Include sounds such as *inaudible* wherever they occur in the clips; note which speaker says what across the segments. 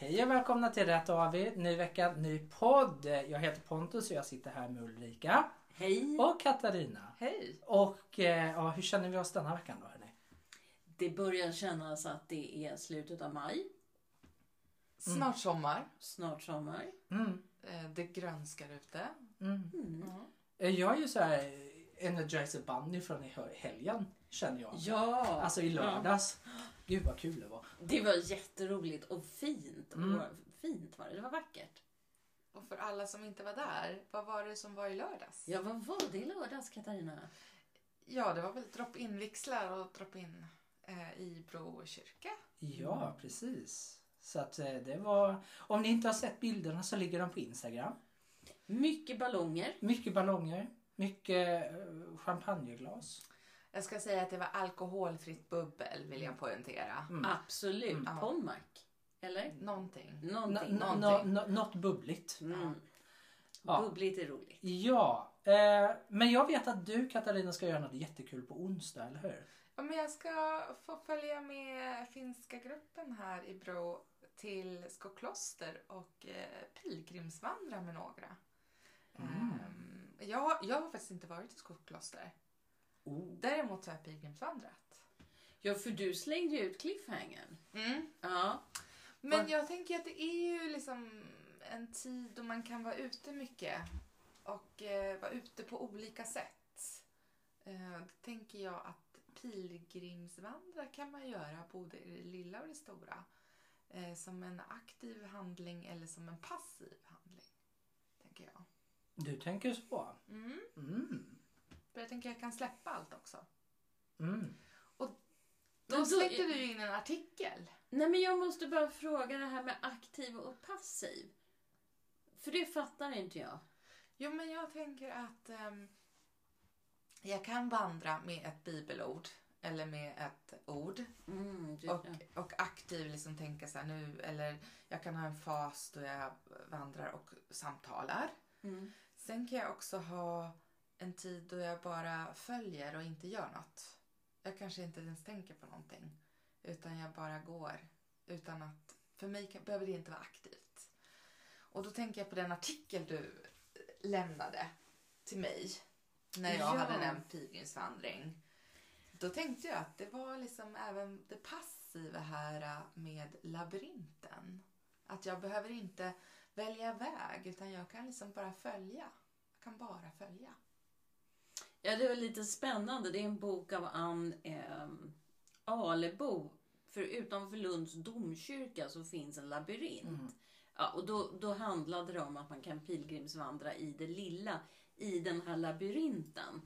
Speaker 1: välkomna till Rätt AV. Ny vecka, ny podd. Jag heter Pontus och jag sitter här med Ulrika
Speaker 2: Hej!
Speaker 1: och Katarina.
Speaker 3: Hej!
Speaker 1: Och eh, ja, hur känner vi oss denna veckan då? Hörni?
Speaker 2: Det börjar kännas att det är slutet av maj,
Speaker 3: Snart sommar.
Speaker 2: snart sommar.
Speaker 1: Mm,
Speaker 3: Eh, Det grönskar ute.
Speaker 1: mm.
Speaker 2: Mm.
Speaker 1: Eh, Jag är ju så här eh, Energizer Bunny från i hö- helgen känner jag.
Speaker 2: Ja,
Speaker 1: Alltså i lördags. Gud vad kul det var.
Speaker 2: det var jätteroligt och fint.
Speaker 1: Mm.
Speaker 2: Och fint var det, det var vackert.
Speaker 3: Och för alla som inte var där, vad var det som var i lördags?
Speaker 2: Ja, vad var det i lördags Katarina?
Speaker 3: Ja, det var väl drop-in vixlar och drop-in eh, i Bro kyrka.
Speaker 2: Mm.
Speaker 1: Ja, precis. Så att eh, det var... Om ni inte har sett bilderna så ligger de på Instagram.
Speaker 2: Mycket ballonger.
Speaker 1: Mycket ballonger. Mycket eh, champagneglas.
Speaker 3: Jag ska säga att det var alkoholfritt bubbel vill jag poängtera.
Speaker 1: Mm.
Speaker 2: Ah, Absolut.
Speaker 3: Ja.
Speaker 2: Pommac. Eller?
Speaker 3: Någonting.
Speaker 2: Någonting.
Speaker 1: Nå- nå-
Speaker 3: någonting.
Speaker 1: nå- Något bubbligt.
Speaker 2: Mm.
Speaker 1: Ja.
Speaker 2: Bubbligt är roligt.
Speaker 1: Ja, eh, men jag vet att du Katarina ska göra något jättekul på onsdag, eller hur?
Speaker 3: Ja, men jag ska få följa med finska gruppen här i Bro till Skokloster och eh, pilgrimsvandra med några.
Speaker 1: Mm.
Speaker 3: Ehm, jag, jag har faktiskt inte varit i Skokloster.
Speaker 1: Oh.
Speaker 3: Däremot så har jag pilgrimsvandrat.
Speaker 2: Ja, för du slängde ju ut cliffhangern.
Speaker 3: Mm.
Speaker 2: Ja.
Speaker 3: Men jag tänker att det är ju liksom en tid då man kan vara ute mycket och eh, vara ute på olika sätt. Eh, då tänker jag att pilgrimsvandra kan man göra både i det lilla och det stora. Eh, som en aktiv handling eller som en passiv handling. Tänker jag.
Speaker 1: Du tänker så?
Speaker 3: Mm.
Speaker 1: Mm.
Speaker 3: För jag tänker att jag kan släppa allt också.
Speaker 1: Mm.
Speaker 2: Men
Speaker 3: Då
Speaker 2: då-
Speaker 3: släppte du ju in en artikel.
Speaker 2: Nej, men jag måste bara fråga det här med aktiv och passiv. För det fattar inte jag.
Speaker 3: Jo, men jag tänker att ehm, jag kan vandra med ett bibelord eller med ett ord
Speaker 2: Mm, du,
Speaker 3: och,
Speaker 2: ja.
Speaker 3: och aktiv liksom tänka så här nu eller jag kan ha en fas då jag vandrar och samtalar.
Speaker 2: Mm.
Speaker 3: Sen kan jag också ha en tid då jag bara följer och inte gör något. Jag kanske inte ens tänker på någonting utan jag bara går utan att för mig kan, behöver det inte vara aktivt. Och då tänker jag på den artikel du lämnade till mig när jag
Speaker 2: Ja.
Speaker 3: hade den pilgrimsvandring. Då tänkte jag att det var liksom även det passiva här äh, med labyrinten. Att jag behöver inte välja väg utan jag kan liksom bara följa. Jag kan bara följa.
Speaker 2: Ja, det var lite spännande. Det är en bok av Ann ehm, Alebo. För utanför Lunds domkyrka så finns en labyrint. Ja, och då, då handlade det om att man kan pilgrimsvandra i det lilla, i den här labyrinten.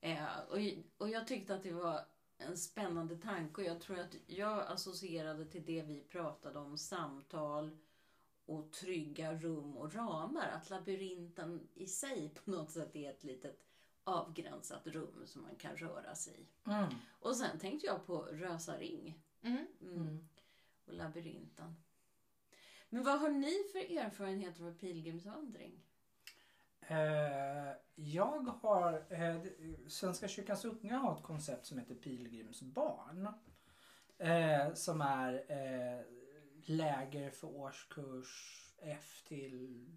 Speaker 2: Eh, och, och jag tyckte att det var en spännande tanke och jag tror att jag associerade till det vi pratade om, samtal och trygga rum och ramar. Att labyrinten i sig på något sätt är ett litet avgränsat rum som man kan röra sig i.
Speaker 1: Mm.
Speaker 2: Och sen tänkte jag på Rösa ring mm.
Speaker 1: Mm.
Speaker 2: och labyrinten. Men vad har ni för erfarenheter av pilgrimsvandring?
Speaker 1: Eh, jag har... Eh, Svenska kyrkans unga har ett koncept som heter pilgrimsbarn. Eh, som är eh, läger för årskurs F till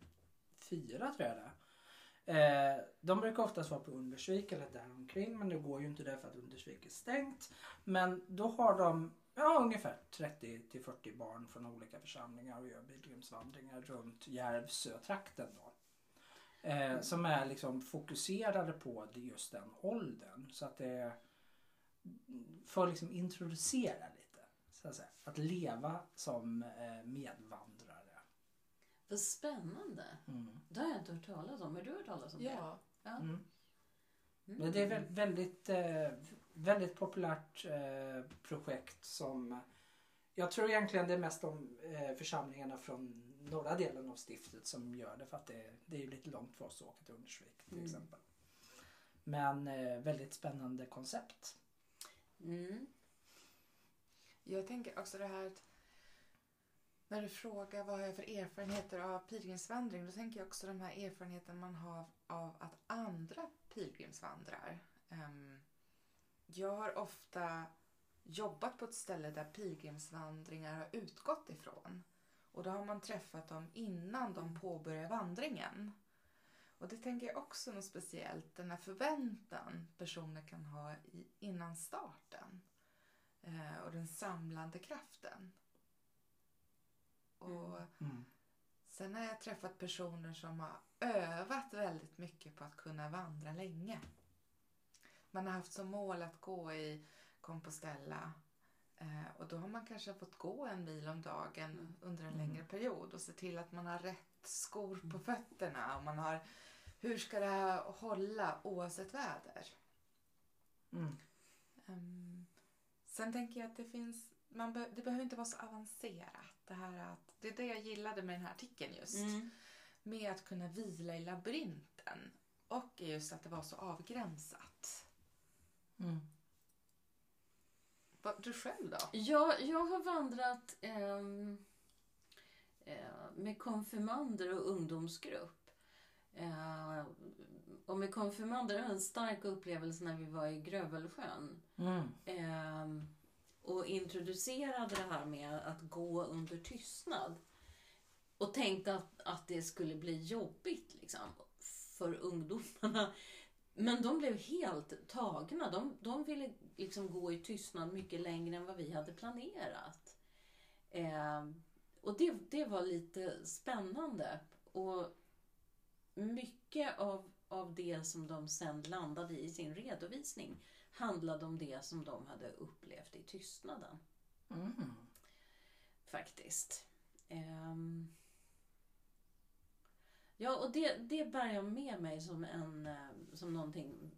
Speaker 1: 4 tror jag det är. Eh, de brukar oftast vara på Undersvik eller däromkring men det går ju inte därför att Undersvik är stängt. Men då har de ja, ungefär 30 till 40 barn från olika församlingar och gör pilgrimsvandringar runt Järvsötrakten. Då. Eh, som är liksom fokuserade på det- just den åldern. Så att det får liksom introducera lite. Så att, säga. att leva som eh, medvandrare.
Speaker 2: Vad spännande!
Speaker 1: Mm.
Speaker 2: Det har jag inte hört talas om. Har du hört talas om Mm.
Speaker 3: Ja.
Speaker 1: Mm.
Speaker 2: det?
Speaker 1: Men det är väl väldigt, eh, väldigt populärt eh, projekt som jag tror egentligen det är mest de eh, församlingarna från norra delen av stiftet som gör det för att det, det är ju lite långt för oss att åka till Undersvik till
Speaker 2: Mm.
Speaker 1: exempel. Men eh, väldigt spännande koncept.
Speaker 2: Mm.
Speaker 3: Jag tänker också det här att när du frågar vad har jag för erfarenheter av pilgrimsvandring då tänker jag också de här erfarenheterna man har av att andra pilgrimsvandrar. Ehm, jag har ofta jobbat på ett ställe där pilgrimsvandringar har utgått ifrån Och då har man träffat dem innan de påbörjar vandringen. Och det tänker jag också är något speciellt, den här förväntan personer kan ha i, innan starten. Eh, och den samlande kraften. Och
Speaker 1: Mm.
Speaker 3: sen har jag träffat personer som har övat väldigt mycket på att kunna vandra länge. Man har haft som mål att gå i Compostela eh, och då har man kanske fått gå en mil om dagen
Speaker 2: Mm.
Speaker 3: under en
Speaker 1: Mm.
Speaker 3: längre period och se till att man har rätt skor på fötterna och man har hur ska det här hålla oavsett väder?
Speaker 1: Mm.
Speaker 3: Ehm, sen tänker jag att det finns, man be, det behöver inte vara så avancerat. Det, här att, det är det jag gillade med den här artikeln just.
Speaker 2: Mm.
Speaker 3: Med att kunna vila i labyrinten. Och just att det var så avgränsat.
Speaker 1: Mm.
Speaker 3: Vad- Du själv då?
Speaker 2: Jag, jag har vandrat ehm, eh, med konfirmander och ungdomsgrupp. Eh, och med konfirmander har jag en stark upplevelse när vi var i Grövelsjön.
Speaker 1: Mm.
Speaker 2: Ehm, och introducerade det här med att gå under tystnad. Och tänkte att, att det skulle bli jobbigt liksom, för ungdomarna. Men de blev helt tagna. De, de ville liksom gå i tystnad mycket längre än vad vi hade planerat. Ehm, och det, det var lite spännande. Och mycket av, av det som de sen landade i i sin redovisning handlade om det som de hade upplevt i tystnaden.
Speaker 1: Mm.
Speaker 2: Faktiskt. Ehm. Ja, och det, det bär jag med mig som, en, eh, som någonting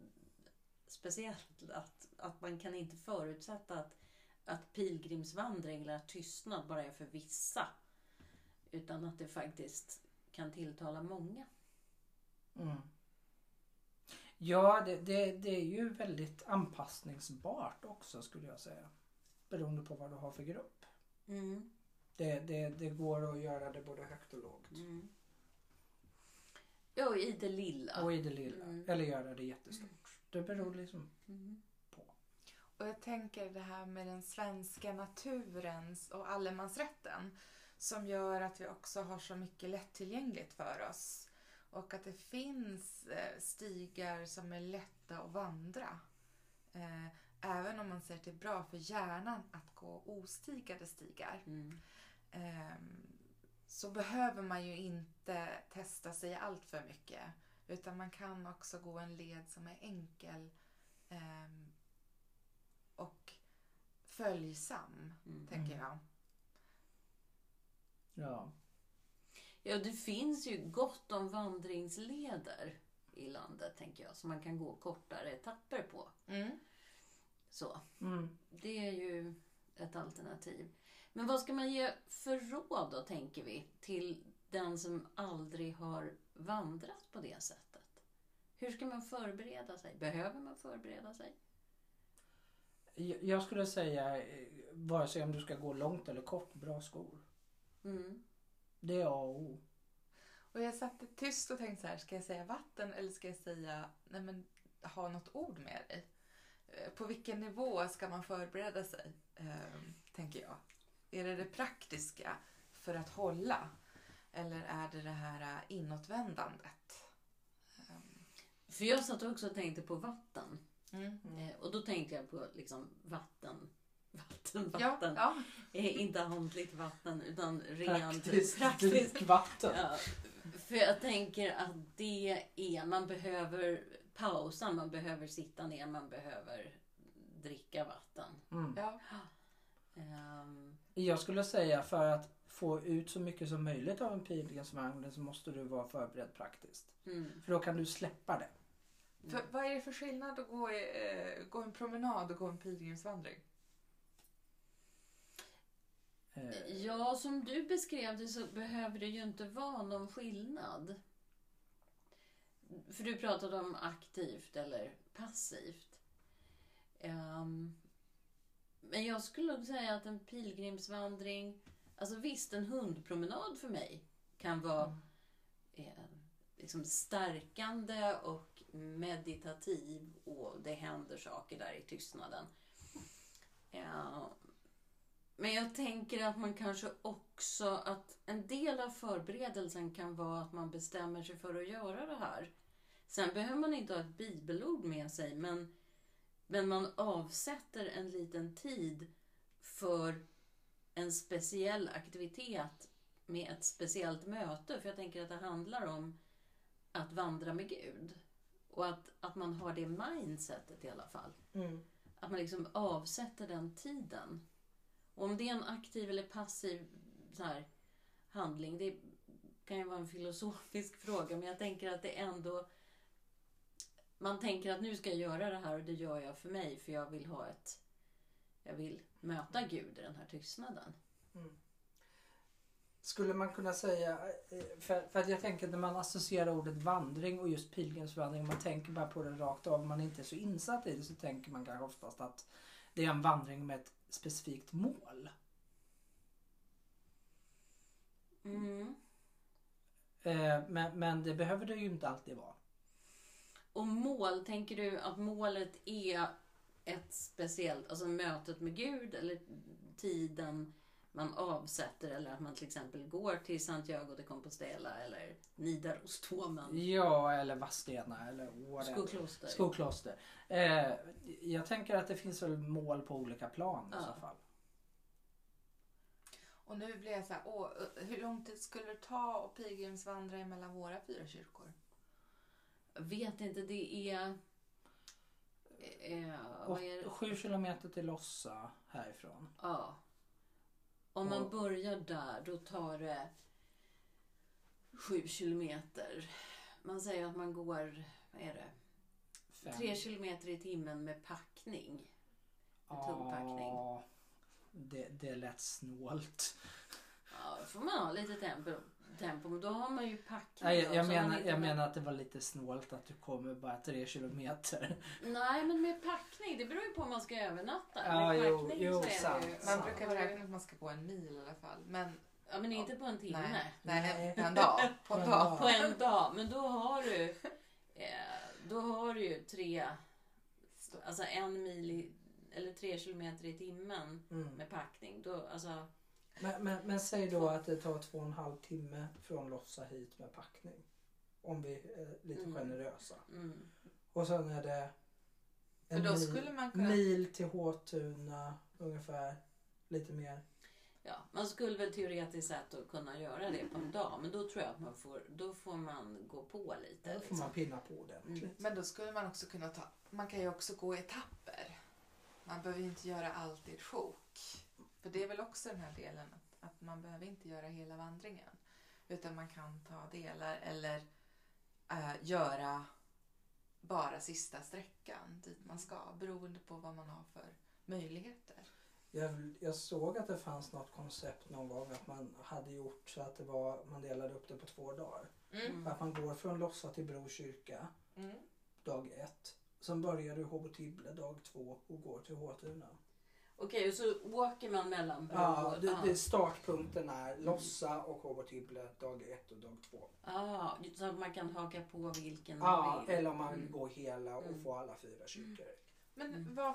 Speaker 2: speciellt. Att, att man kan inte förutsätta att, att pilgrimsvandring eller att tystnad bara är för vissa. Utan att det faktiskt kan tilltala många.
Speaker 1: Mm. Ja, det, det, det är ju väldigt anpassningsbart också skulle jag säga. Beroende på vad du har för grupp. Det, det, det går att göra det både högt och lågt.
Speaker 2: Mm. Ja, och i det lilla.
Speaker 1: Och i det lilla.
Speaker 2: Mm.
Speaker 1: Eller göra det jättestort. Det beror liksom
Speaker 2: Mm.
Speaker 3: Och jag tänker det här med den svenska naturens och allemansrätten som gör att vi också har så mycket lättillgängligt för oss. Och att det finns eh, stigar som är lätta att vandra. Eh, Även om man säger att det är bra för hjärnan att gå ostigade stigar.
Speaker 2: Mm.
Speaker 3: Ehm, så behöver man ju inte testa sig allt för mycket. Utan man kan också gå en led som är enkel ehm, och följsam,
Speaker 2: Mm.
Speaker 3: tänker jag.
Speaker 1: Ja.
Speaker 2: Ja, det finns ju gott om vandringsleder i landet, tänker jag, som man kan gå kortare etapper på.
Speaker 3: Mm.
Speaker 2: Så,
Speaker 1: Mm.
Speaker 2: det är ju ett alternativ. Men vad ska man ge för råd då, tänker vi, till den som aldrig har vandrat på det sättet? Hur ska man förbereda sig? Behöver man förbereda sig?
Speaker 1: Jag jag skulle säga eh, vare sig om du ska gå långt eller kort, bra skor.
Speaker 2: Mm.
Speaker 1: Det är A och O.
Speaker 3: Och jag satt tyst och tänkte så här, ska jag säga vatten eller ska jag säga, nej men ha något ord med dig? Eh, På vilken nivå ska man förbereda sig, ehm, tänker jag? Är det det praktiska för att hålla? Eller är det det här eh, inåtvändandet?
Speaker 2: För jag satt också och tänkte på vatten.
Speaker 3: Mm.
Speaker 2: Eh, Och då tänkte jag på liksom vatten, vatten,
Speaker 3: Ja,
Speaker 2: vatten.
Speaker 3: ja.
Speaker 2: Eh, inte handligt vatten utan rent
Speaker 1: Praktiskt,
Speaker 2: praktiskt. *laughs*
Speaker 1: praktiskt vatten.
Speaker 2: Ja, för jag tänker att det är, man behöver pausa, man behöver sitta ner, man behöver dricka vatten.
Speaker 1: Mm.
Speaker 3: ja.
Speaker 2: Ehm,
Speaker 1: Jag skulle säga för att få ut så mycket som möjligt av en pilgrimsvandring så måste du vara förberedd praktiskt.
Speaker 2: mm,
Speaker 1: För då kan du släppa det.
Speaker 3: För, vad är det för skillnad att gå, i, eh, gå en promenad och gå en pilgrimsvandring?
Speaker 1: Eh,
Speaker 2: Ja, som du beskrev det så behöver det ju inte vara någon skillnad. För du pratade om aktivt eller passivt. Ehm, men jag skulle nog säga att en pilgrimsvandring, alltså visst en hundpromenad för mig kan vara eh, liksom stärkande och meditativ Ehm, och det händer saker där i tystnaden. Eh, Men jag tänker att man kanske också att en del av förberedelsen kan vara att man bestämmer sig för att göra det här. Sen behöver man inte ha ett bibelord med sig men, men man avsätter en liten tid för en speciell aktivitet med ett speciellt möte. För jag tänker att det handlar om att vandra med Gud. Och att, att man har det mindsetet i alla fall.
Speaker 1: Mm.
Speaker 2: Att man liksom avsätter den tiden. Och om det är en aktiv eller passiv så här, handling, det kan ju vara en filosofisk *laughs* fråga, men jag tänker att det ändå... Man tänker att nu ska jag göra det här och det gör jag för mig, för jag vill ha ett... Jag vill möta Gud i den här tystnaden.
Speaker 1: Skulle man kunna säga, eh, för, för att jag tänker att när man associerar ordet vandring och just pilgrimsvandring, man tänker bara på det rakt av, om man inte är så insatt i det så tänker man kanske oftast att det är en vandring med ett specifikt mål.
Speaker 2: Mm.
Speaker 1: Eh, Men, men det behöver det ju inte alltid vara.
Speaker 2: Och mål, tänker du att målet är ett speciellt, alltså mötet med Gud eller tiden man avsätter eller att man till exempel går till Santiago de Compostela eller Nidaros-Tomen,
Speaker 1: Ja, eller Vadstena eller whatever.
Speaker 2: Skokloster.
Speaker 1: Skokloster. Eh, jag tänker att det finns väl mål på olika plan i
Speaker 2: Ja.
Speaker 1: så fall.
Speaker 3: Och nu blir jag så här, åh, eh, hur lång tid skulle det ta att pilgrimsvandra mellan våra fyra kyrkor?
Speaker 2: Vet inte, det är... Eh,
Speaker 1: Och,
Speaker 2: vad är det?
Speaker 1: sju kilometer till Lossa härifrån.
Speaker 2: Ja. Om man
Speaker 1: Och-
Speaker 2: börjar där, då tar det sju kilometer. Man säger att man går, vad är det?
Speaker 1: Fem.
Speaker 2: Tre kilometer i timmen med packning.
Speaker 1: Ja,
Speaker 2: tung packning.
Speaker 1: Det, det lät snålt.
Speaker 2: Ja, då får man ha lite tempo, tempo men då har man ju packning.
Speaker 1: Nej, jag,
Speaker 2: då,
Speaker 1: jag,
Speaker 2: så man
Speaker 1: menar,
Speaker 2: inte
Speaker 1: jag
Speaker 2: behöver-
Speaker 1: menar att det var lite snålt att du kommer bara tre kilometer.
Speaker 2: Nej, men med packning, det beror ju på om man ska övernatta.
Speaker 1: Ja,
Speaker 2: med
Speaker 1: jo,
Speaker 2: packning
Speaker 1: jo,
Speaker 2: så är det
Speaker 1: sant,
Speaker 2: ju...
Speaker 1: sant.
Speaker 3: Man brukar väl räkna att man ska gå en mil i alla fall. Men
Speaker 2: Ja, men inte på en timme.
Speaker 3: nej,
Speaker 1: Nej.
Speaker 3: nej, en dag. På
Speaker 1: En
Speaker 3: en
Speaker 1: dag.
Speaker 3: dag.
Speaker 2: På en dag, men då har du eh, då har du ju tre, alltså en mil i, eller tre kilometer i timmen
Speaker 1: Mm.
Speaker 2: med packning. Då, alltså,
Speaker 1: Men, men, men säg då att det tar två och en halv timme från Lossa hit med packning. Om vi är lite
Speaker 2: Mm.
Speaker 1: generösa.
Speaker 2: mm.
Speaker 1: Och sen är det
Speaker 3: För
Speaker 1: en
Speaker 3: då
Speaker 1: mil,
Speaker 3: skulle man kunna...
Speaker 1: mil till Håtuna ungefär. Lite mer.
Speaker 2: ja, man skulle väl teoretiskt sett då kunna göra det
Speaker 1: Mm.
Speaker 2: på en dag, men då tror jag att man får, då får man gå på lite.
Speaker 1: Där får
Speaker 2: Liksom.
Speaker 1: man pinna på ordentligt.
Speaker 2: Mm.
Speaker 3: Men då skulle man också kunna ta... Man kan ju också gå i etapper. Man behöver ju inte göra allt i ett sjok. För det är väl också den här delen att, att man behöver inte göra hela vandringen. Utan man kan ta delar eller eh, göra bara sista sträckan dit man ska beroende på vad man har för möjligheter.
Speaker 1: Jag, jag såg att det fanns något koncept någon gång att man hade gjort så att det var, man delade upp det på två dagar.
Speaker 2: Mm.
Speaker 1: Att man går från Lossa till Bro kyrka
Speaker 3: Mm.
Speaker 1: dag ett. Sen börjar du i Håbo-Tibble dag två och går till Håtuna.
Speaker 2: Okej, och så åker man mellan
Speaker 1: Ja,
Speaker 2: broar.
Speaker 1: det, det är startpunkten är Lossa och Håbo-Tibble dag ett och dag två.
Speaker 2: Ah, så att man kan haka på vilken
Speaker 1: Ja,
Speaker 2: man vill.
Speaker 1: eller om man vill
Speaker 2: Mm.
Speaker 1: gå hela och
Speaker 2: Mm.
Speaker 1: få alla fyra kyrkor.
Speaker 3: Men
Speaker 2: Mm.
Speaker 3: vad...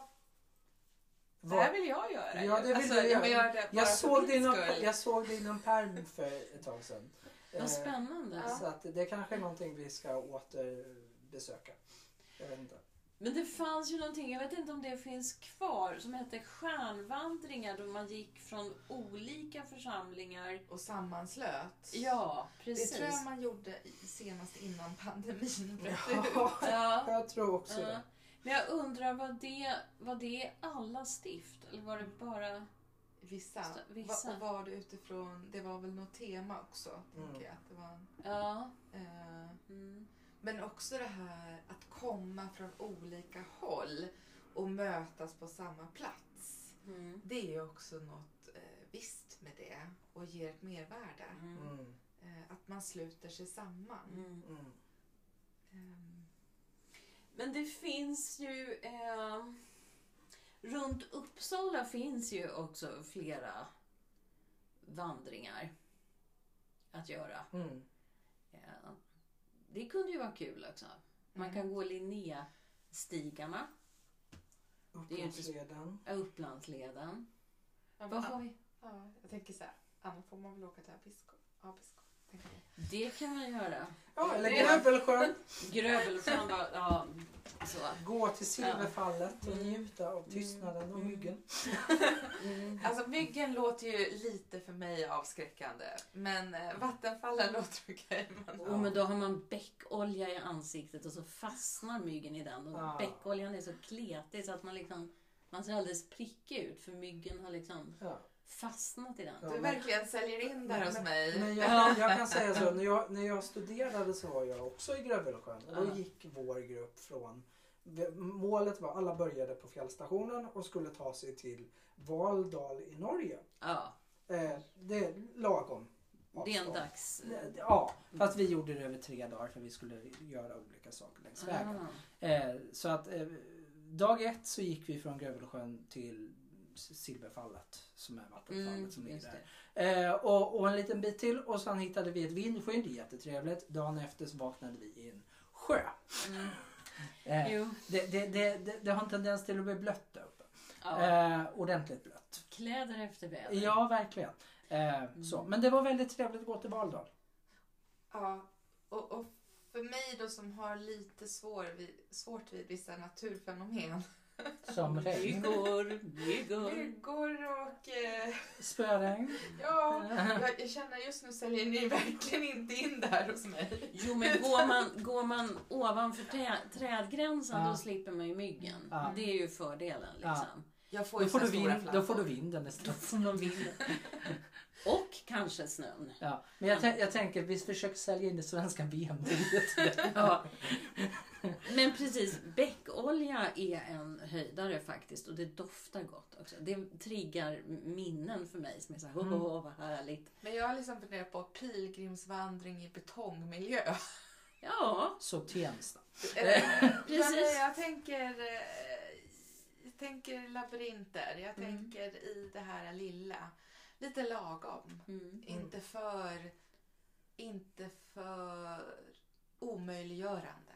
Speaker 3: Det
Speaker 1: Vad-
Speaker 3: här vill jag göra
Speaker 1: Ja,
Speaker 3: ju.
Speaker 1: det vill
Speaker 3: alltså,
Speaker 1: du göra.
Speaker 3: jag vill göra det bara
Speaker 1: Jag
Speaker 3: för
Speaker 1: såg,
Speaker 3: min
Speaker 1: det i någon,
Speaker 3: skull.
Speaker 1: jag såg det i någon perm för ett tag sedan. Eh,
Speaker 2: Vad spännande.
Speaker 1: Så att det kanske är någonting vi ska återbesöka. Jag vet inte.
Speaker 2: Men det fanns ju någonting, jag vet inte om det finns kvar, som hette stjärnvandringar då man gick från olika församlingar.
Speaker 3: Och sammanslöt.
Speaker 2: Ja,
Speaker 3: Det
Speaker 2: precis.
Speaker 3: tror jag man gjorde i- senast innan pandemin bröt ut. *laughs*
Speaker 1: Ja,
Speaker 2: Ja,
Speaker 1: jag tror också
Speaker 2: ja.
Speaker 1: det.
Speaker 2: Men jag undrar, var det, var det alla stift? Eller var det bara...
Speaker 3: Vissa.
Speaker 2: Sta- vissa.
Speaker 3: Va- Och var det utifrån, det var väl något tema också.
Speaker 1: Mm.
Speaker 3: Tänker jag. att Det var,
Speaker 2: Ja.
Speaker 3: eh,
Speaker 2: Mm.
Speaker 3: men också det här att komma från olika håll och mötas på samma plats.
Speaker 2: Mm.
Speaker 3: Det är ju också något eh, visst med det och ger ett mervärde.
Speaker 2: Mm.
Speaker 1: Mm,
Speaker 3: Eh, att man sluter sig samman.
Speaker 2: Mm.
Speaker 1: mm.
Speaker 3: Ehm,
Speaker 2: Men det finns ju... Eh, runt Uppsala finns ju också flera vandringar att göra.
Speaker 1: Mm.
Speaker 2: Ja. Det kunde ju vara kul också. Man kan gå Linnéstigarna,
Speaker 1: Upplandsleden.
Speaker 2: Upplandsleden. Vad har vi?
Speaker 3: Ja, jag tänker så här, annars får man väl åka till Abisko. Abisko tänker jag.
Speaker 2: Det kan man göra.
Speaker 1: Ja, eller
Speaker 3: Det-
Speaker 1: Grövelsjön.
Speaker 2: Grövelsjön bara, ja. Så.
Speaker 1: Gå till Silverfallet och
Speaker 2: Mm.
Speaker 1: njuta av tystnaden och
Speaker 2: Mm.
Speaker 1: myggen.
Speaker 2: Mm.
Speaker 3: *laughs* Alltså myggen låter ju lite för mig avskräckande. Men eh, vattenfallen låter okej. men-
Speaker 2: Och men då har man bäckolja i ansiktet och så fastnar myggen i den. Och
Speaker 1: Ja.
Speaker 2: bäckoljan är så kletig så att man liksom man ser alldeles prickig ut för myggen har liksom
Speaker 1: Ja.
Speaker 2: fastnat i
Speaker 3: *laughs*
Speaker 2: den.
Speaker 1: Ja.
Speaker 3: Du verkligen säljer in där hos mig.
Speaker 1: Men jag, jag kan säga *laughs* så, när jag, när jag studerade så var jag också i Grövelsjön. Och då
Speaker 2: Ja.
Speaker 1: gick vår grupp från... Målet var alla började på fjällstationen och skulle ta sig till Valdal i Norge.
Speaker 2: Ja,
Speaker 1: Eh, det är lagom
Speaker 2: det är en
Speaker 1: avstånd.
Speaker 2: dags...
Speaker 1: Ja, Mm. fast vi gjorde det över tre dagar för vi skulle göra olika saker längs vägen.
Speaker 2: Ah.
Speaker 1: Eh, så att eh, dag ett så gick vi från Grövelsjön till Silverfallet som är vattenfallet
Speaker 2: Mm,
Speaker 1: som ligger
Speaker 2: just
Speaker 1: där.
Speaker 2: det.
Speaker 1: Eh, och, och en liten bit till och sen hittade vi ett vindskydd, jättetrevligt. Dagen efter så vaknade vi i en sjö.
Speaker 2: Mm.
Speaker 1: Eh,
Speaker 2: Jo.
Speaker 1: det, det, det, det, det har en tendens till att bli blött där uppe.
Speaker 2: Ja.
Speaker 1: Eh, ordentligt blött.
Speaker 2: Kläder efter väder.
Speaker 1: Ja, verkligen. Eh, så.
Speaker 2: Mm.
Speaker 1: Men det var väldigt trevligt att gå till Valdal.
Speaker 3: Ja, och, och för mig då som har lite svår vid, svårt vid vissa naturfenomen.
Speaker 1: Som regn.
Speaker 2: Myggor,
Speaker 3: Mm.
Speaker 2: myggor.
Speaker 3: Myggor och... *laughs* Eh,
Speaker 1: Spöregn.
Speaker 3: ja, jag, jag känner just nu säljer ni verkligen inte in där hos mig.
Speaker 2: Jo men går man, går man ovanför trä, trädgränsen
Speaker 1: Ja.
Speaker 2: då slipper man ju myggen.
Speaker 1: Ja.
Speaker 2: Det är ju fördelen
Speaker 1: Ja.
Speaker 2: liksom.
Speaker 3: Jag får
Speaker 1: Då
Speaker 3: ju
Speaker 1: får,
Speaker 3: så
Speaker 1: du
Speaker 3: stora
Speaker 1: vind,
Speaker 3: flaggor.
Speaker 1: då får du vinden
Speaker 2: Då
Speaker 1: istället.
Speaker 2: får man vinden. Och kanske snön.
Speaker 1: Ja. Men jag, tän- jag tänker vi försöker sälja in det svenska
Speaker 2: *laughs*
Speaker 1: VM-budet.
Speaker 2: Ja. Men precis, bäckolja är en höjdare faktiskt och det doftar gott också. Det triggar minnen för mig som är såhär, åh
Speaker 1: Mm.
Speaker 2: vad härligt.
Speaker 3: Men jag har liksom funderat på pilgrimsvandring i betongmiljö.
Speaker 2: Ja,
Speaker 1: Så Tensta.
Speaker 3: *laughs* Precis.
Speaker 2: Eh, Precis.
Speaker 3: Jag tänker, eh, jag tänker labyrinter. Jag
Speaker 2: Mm.
Speaker 3: tänker i det här lilla. Lite lagom.
Speaker 2: mm.
Speaker 3: Inte för, inte för omöjliggörande.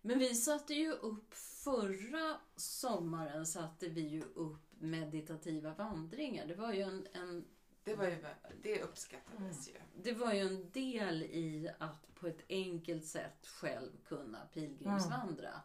Speaker 2: Men vi satte ju upp förra sommaren satte vi ju upp meditativa vandringar. Det var ju en, en,
Speaker 3: Det, var
Speaker 2: Mm.
Speaker 3: ju, det uppskattades ju.
Speaker 2: det var ju en del i att på ett enkelt sätt själv kunna pilgrimsvandra.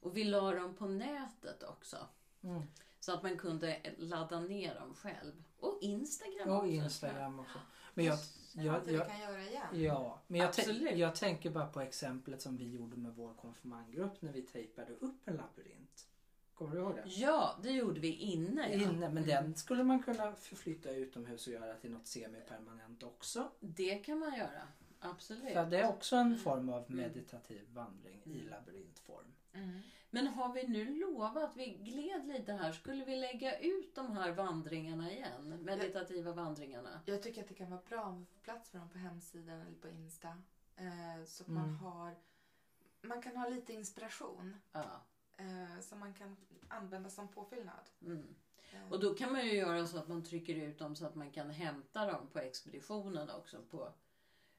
Speaker 2: Och vi la dem på nätet också.
Speaker 1: Mm.
Speaker 2: Så att man kunde ladda ner dem själv. Och Instagram
Speaker 1: Och
Speaker 2: också.
Speaker 1: Instagram också. Men jag,
Speaker 3: Jag,
Speaker 1: jag,
Speaker 3: att vi
Speaker 1: jag,
Speaker 3: kan göra igen.
Speaker 1: ja, men jag, tän-
Speaker 2: Absolut.
Speaker 1: jag tänker bara på exemplet som vi gjorde med vår konfirmandgrupp när vi tejpade upp en labyrint. Kommer du ihåg det?
Speaker 2: Ja, det gjorde vi inne. Ja. Mm.
Speaker 1: Inne, men den skulle man kunna förflytta utomhus och göra till något semipermanent också.
Speaker 2: Det kan man göra. Absolut. Mm.
Speaker 1: För det är också en form av meditativ vandring i labyrintform.
Speaker 3: Mm.
Speaker 2: Men har vi nu lovat, vi gled lite här, skulle vi lägga ut de här vandringarna igen? Meditativa vandringarna.
Speaker 3: Jag tycker att det kan vara bra om vi får plats för dem på hemsidan eller på Insta. Eh, så att man
Speaker 1: Mm.
Speaker 3: har man kan ha lite inspiration
Speaker 2: Ja.
Speaker 3: eh, som man kan använda som påfyllnad.
Speaker 2: Mm.
Speaker 3: Eh,
Speaker 2: Och då kan man ju göra så att man trycker ut dem så att man kan hämta dem på expeditionen också på,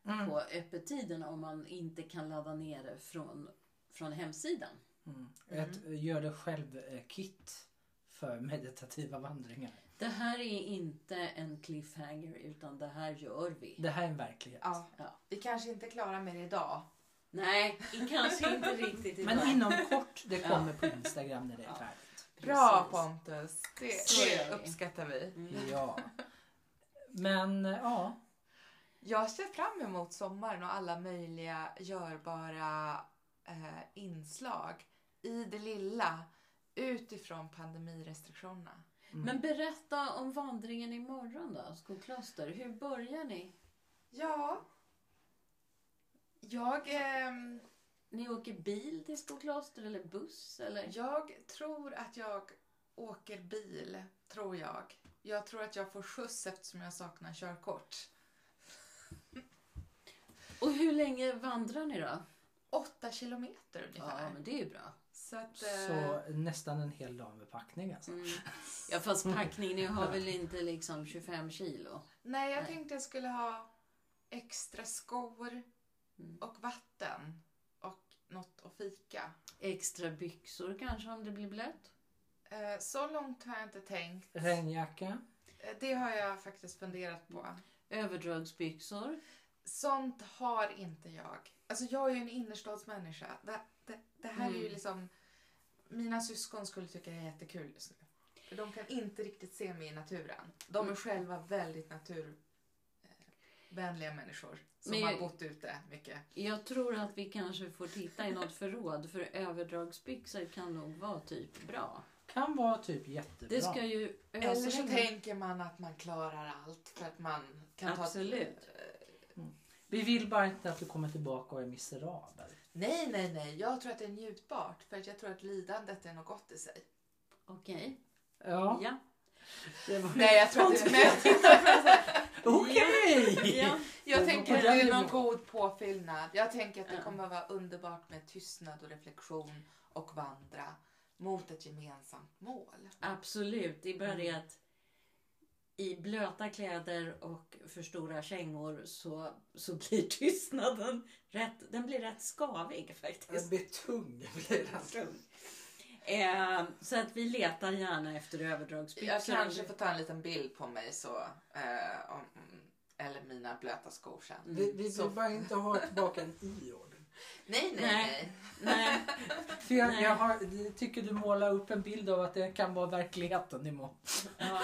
Speaker 1: Mm.
Speaker 2: på öppettiderna om man inte kan ladda ner det från, från hemsidan.
Speaker 1: Mm. Ett gör det själv-kit för *laughs* meditativa vandringar.
Speaker 2: Det här är inte en cliffhanger utan det här gör vi.
Speaker 1: Det här är en verklighet.
Speaker 3: Ja,
Speaker 2: Ja.
Speaker 3: vi kanske inte är klara med det idag.
Speaker 2: Nej, kanske inte riktigt idag.
Speaker 1: Men inom kort,
Speaker 2: *laughs*
Speaker 1: det kommer på Instagram när det är
Speaker 2: Ja.
Speaker 1: färdigt.
Speaker 3: Bra
Speaker 2: Precis.
Speaker 3: Pontus! Det,
Speaker 2: Så gör
Speaker 3: det
Speaker 2: vi.
Speaker 3: uppskattar vi.
Speaker 2: Mm.
Speaker 1: Ja. Men eh, ja,
Speaker 3: Jag ser fram emot sommaren och alla möjliga görbara eh, inslag i det lilla utifrån pandemirestriktionerna.
Speaker 1: Mm.
Speaker 2: Men berätta om vandringen imorgon då, Skokloster. Hur börjar ni?
Speaker 3: Ja, jag, ehm,
Speaker 2: Ni åker bil till Skokloster eller buss eller?
Speaker 3: jag tror att jag åker bil, tror jag. Jag tror att jag får skjuts eftersom jag saknar körkort.
Speaker 2: Och hur länge vandrar ni då?
Speaker 3: Åtta kilometer ungefär.
Speaker 2: Ja, men det är ju bra.
Speaker 3: Så att, eh,
Speaker 1: så nästan en hel dag med packning alltså.
Speaker 2: Mm. Ja, fast packning, ni har väl inte liksom 25 kilo?
Speaker 3: Nej, jag
Speaker 2: Nej.
Speaker 3: tänkte jag skulle ha extra skor
Speaker 2: Mm.
Speaker 3: och vatten och något att fika.
Speaker 2: Extra byxor kanske om det blir blött?
Speaker 3: Eh, Så långt har jag inte tänkt.
Speaker 1: Regnjacka.
Speaker 3: Eh, Det har jag faktiskt funderat på.
Speaker 2: Överdragsbyxor.
Speaker 3: Sånt har inte jag. Alltså jag är ju en innerstadsmänniska. Det, det, det här är ju
Speaker 2: Mm.
Speaker 3: liksom... Mina syskon skulle tycka det är jättekul just nu. För de kan inte riktigt se mig i naturen. De är
Speaker 2: Mm.
Speaker 3: själva väldigt naturvänliga människor. Som
Speaker 2: Men jag-
Speaker 3: har bott ute mycket.
Speaker 2: Jag tror att vi kanske får titta i något förråd för överdragsbyxor kan nog vara typ bra.
Speaker 1: Kan vara typ jättebra.
Speaker 2: Det ska ju
Speaker 3: Eller så
Speaker 2: ösregna.
Speaker 3: tänker man att man klarar allt för att man kan
Speaker 2: Absolut.
Speaker 3: ta...
Speaker 1: Vi vill bara inte att du kommer tillbaka och är miserabel.
Speaker 3: Nej, nej, nej. Jag tror att det är njutbart. För att jag tror att lidandet är något gott i sig.
Speaker 2: Okej.
Speaker 1: Ja,
Speaker 2: Ja.
Speaker 1: det var...
Speaker 3: Nej, jag tror att det är...
Speaker 1: Okej!
Speaker 2: ja.
Speaker 1: Det
Speaker 3: *laughs* Jag
Speaker 1: var
Speaker 3: tänker
Speaker 1: på
Speaker 3: att
Speaker 1: den
Speaker 3: det är någon
Speaker 1: nivån.
Speaker 3: god påfyllnad. Jag tänker att det
Speaker 2: Ja.
Speaker 3: kommer att vara underbart med tystnad och reflektion och vandra mot ett gemensamt mål.
Speaker 2: Absolut. Det är bara det att i blöta kläder och för stora kängor så, så blir tystnaden rätt, den blir rätt skavig faktiskt.
Speaker 1: blir tung.
Speaker 2: Mm. Eh, så att vi letar gärna efter
Speaker 3: Jag
Speaker 2: överdragsbyxor.
Speaker 3: kanske får ta en liten bild på mig så, eh, om, eller mina blöta skor sen.
Speaker 2: Mm. Vi-
Speaker 3: Så-
Speaker 1: bara inte ha tillbaka en iord.
Speaker 3: Nej, nej,
Speaker 2: Nej.
Speaker 3: nej.
Speaker 2: Nej,
Speaker 1: För jag,
Speaker 2: Nej.
Speaker 1: jag har, tycker du målar upp en bild av att det kan vara verkligheten imorgon.
Speaker 2: ja,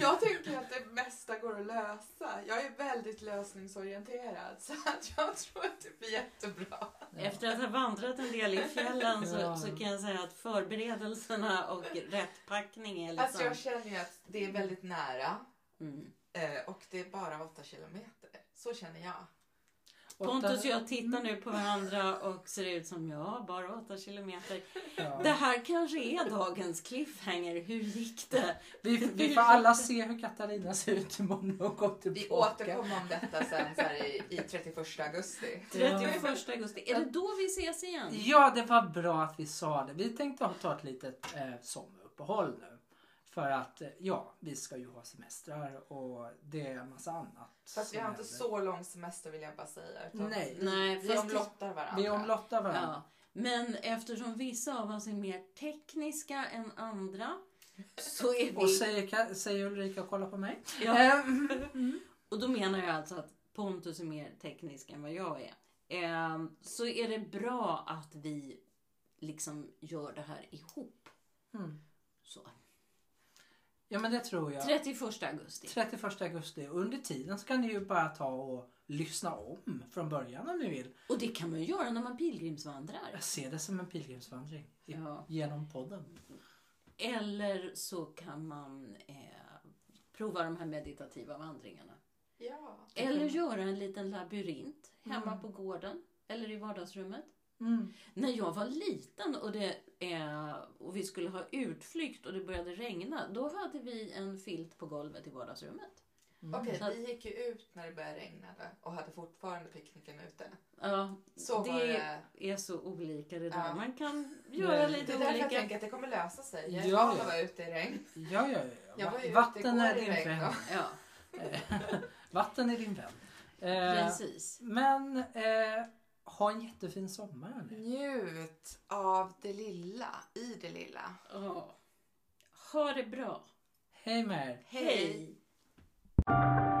Speaker 3: Jag tänker att det mesta går att lösa. Jag är väldigt lösningsorienterad så att jag tror att det blir jättebra.
Speaker 2: efter att ha vandrat en del i fjällen så, så kan jag säga att förberedelserna och rätt packning är
Speaker 3: Alltså
Speaker 2: liksom...
Speaker 3: jag känner ju att det är väldigt nära
Speaker 2: Mm.
Speaker 3: eh, och det är bara 8 kilometer. Så känner jag.
Speaker 2: Pontus och
Speaker 1: Mm.
Speaker 2: jag tittar nu på varandra och ser ut som ja, bara 8 kilometer.
Speaker 1: Ja.
Speaker 2: Det här kanske är dagens cliffhanger. Hur gick det?
Speaker 1: Vi, vi får alla se hur Katarina ser ut imorgon och går
Speaker 3: Vi
Speaker 1: tillbaka.
Speaker 3: återkommer om detta sen så här, i, i 31 augusti.
Speaker 2: 31 augusti. Är det då vi ses igen?
Speaker 1: Ja, det var bra att vi sa det. Vi tänkte ha- ta ett litet eh, sommaruppehåll nu. För att eh, ja, vi ska ju ha semestrar och det är en massa annat.
Speaker 3: Fast vi
Speaker 1: som
Speaker 3: har inte
Speaker 1: händer.
Speaker 3: så lång semester vill jag bara säga. Utan
Speaker 1: Nej.
Speaker 2: Nej,
Speaker 3: Vi
Speaker 2: fast-
Speaker 3: omlottar varandra.
Speaker 1: Vi omlottar varandra.
Speaker 2: Ja, men eftersom vissa av oss är mer tekniska än andra så är
Speaker 1: Och
Speaker 2: vi...
Speaker 1: säger, Ka- säger Ulrika kolla på mig. *laughs*
Speaker 2: Ja,
Speaker 1: Ehm,
Speaker 2: och då menar jag alltså att Pontus är mer teknisk än vad jag är. Ehm, Så är det bra att vi liksom gör det här ihop.
Speaker 1: Mm.
Speaker 2: Så.
Speaker 1: Ja men det tror jag.
Speaker 2: 31 augusti.
Speaker 1: 31 augusti. Under tiden så kan ni ju bara ta och lyssna om från början om ni vill.
Speaker 2: Och det kan man ju göra när man pilgrimsvandrar.
Speaker 1: Jag ser det som en pilgrimsvandring. i-
Speaker 2: Ja.
Speaker 1: Genom podden.
Speaker 2: Eller så kan man eh, prova de här meditativa vandringarna.
Speaker 3: Ja.
Speaker 2: Eller göra en liten labyrint hemma på gården eller i vardagsrummet.
Speaker 1: Mm.
Speaker 2: När jag var liten och, det, eh, och vi skulle ha utflykt och det började regna, då hade vi en filt på golvet i vardagsrummet.
Speaker 3: Okej,
Speaker 1: Mm.
Speaker 2: Så att-
Speaker 3: vi gick ju ut när det började regna där och hade fortfarande picknicken ute.
Speaker 2: Ja,
Speaker 3: Så
Speaker 2: det,
Speaker 3: var det.
Speaker 2: är så olika det där.
Speaker 3: Ja.
Speaker 2: Man kan göra
Speaker 1: Nej.
Speaker 3: Det
Speaker 2: lite
Speaker 3: är därför jag
Speaker 2: olika.
Speaker 3: tänker att det kommer lösa sig. Jag är
Speaker 1: Ja,
Speaker 3: van
Speaker 1: ja.
Speaker 3: att vara ute i regn.
Speaker 1: Ja, ja, ja.
Speaker 3: Jag var ju
Speaker 1: Va-
Speaker 3: ute
Speaker 1: Vatten
Speaker 3: igår
Speaker 1: är
Speaker 3: i
Speaker 1: din
Speaker 3: regn
Speaker 1: vän.
Speaker 2: Ja,
Speaker 1: Eh, *laughs* Vatten är din vän. Eh,
Speaker 2: precis.
Speaker 1: men eh, ha en jättefin sommar hörni.
Speaker 3: Mm. Njut av det lilla, i det lilla.
Speaker 2: Ja. Ha det bra.
Speaker 1: Hej med er.
Speaker 3: Hej.
Speaker 2: Hej.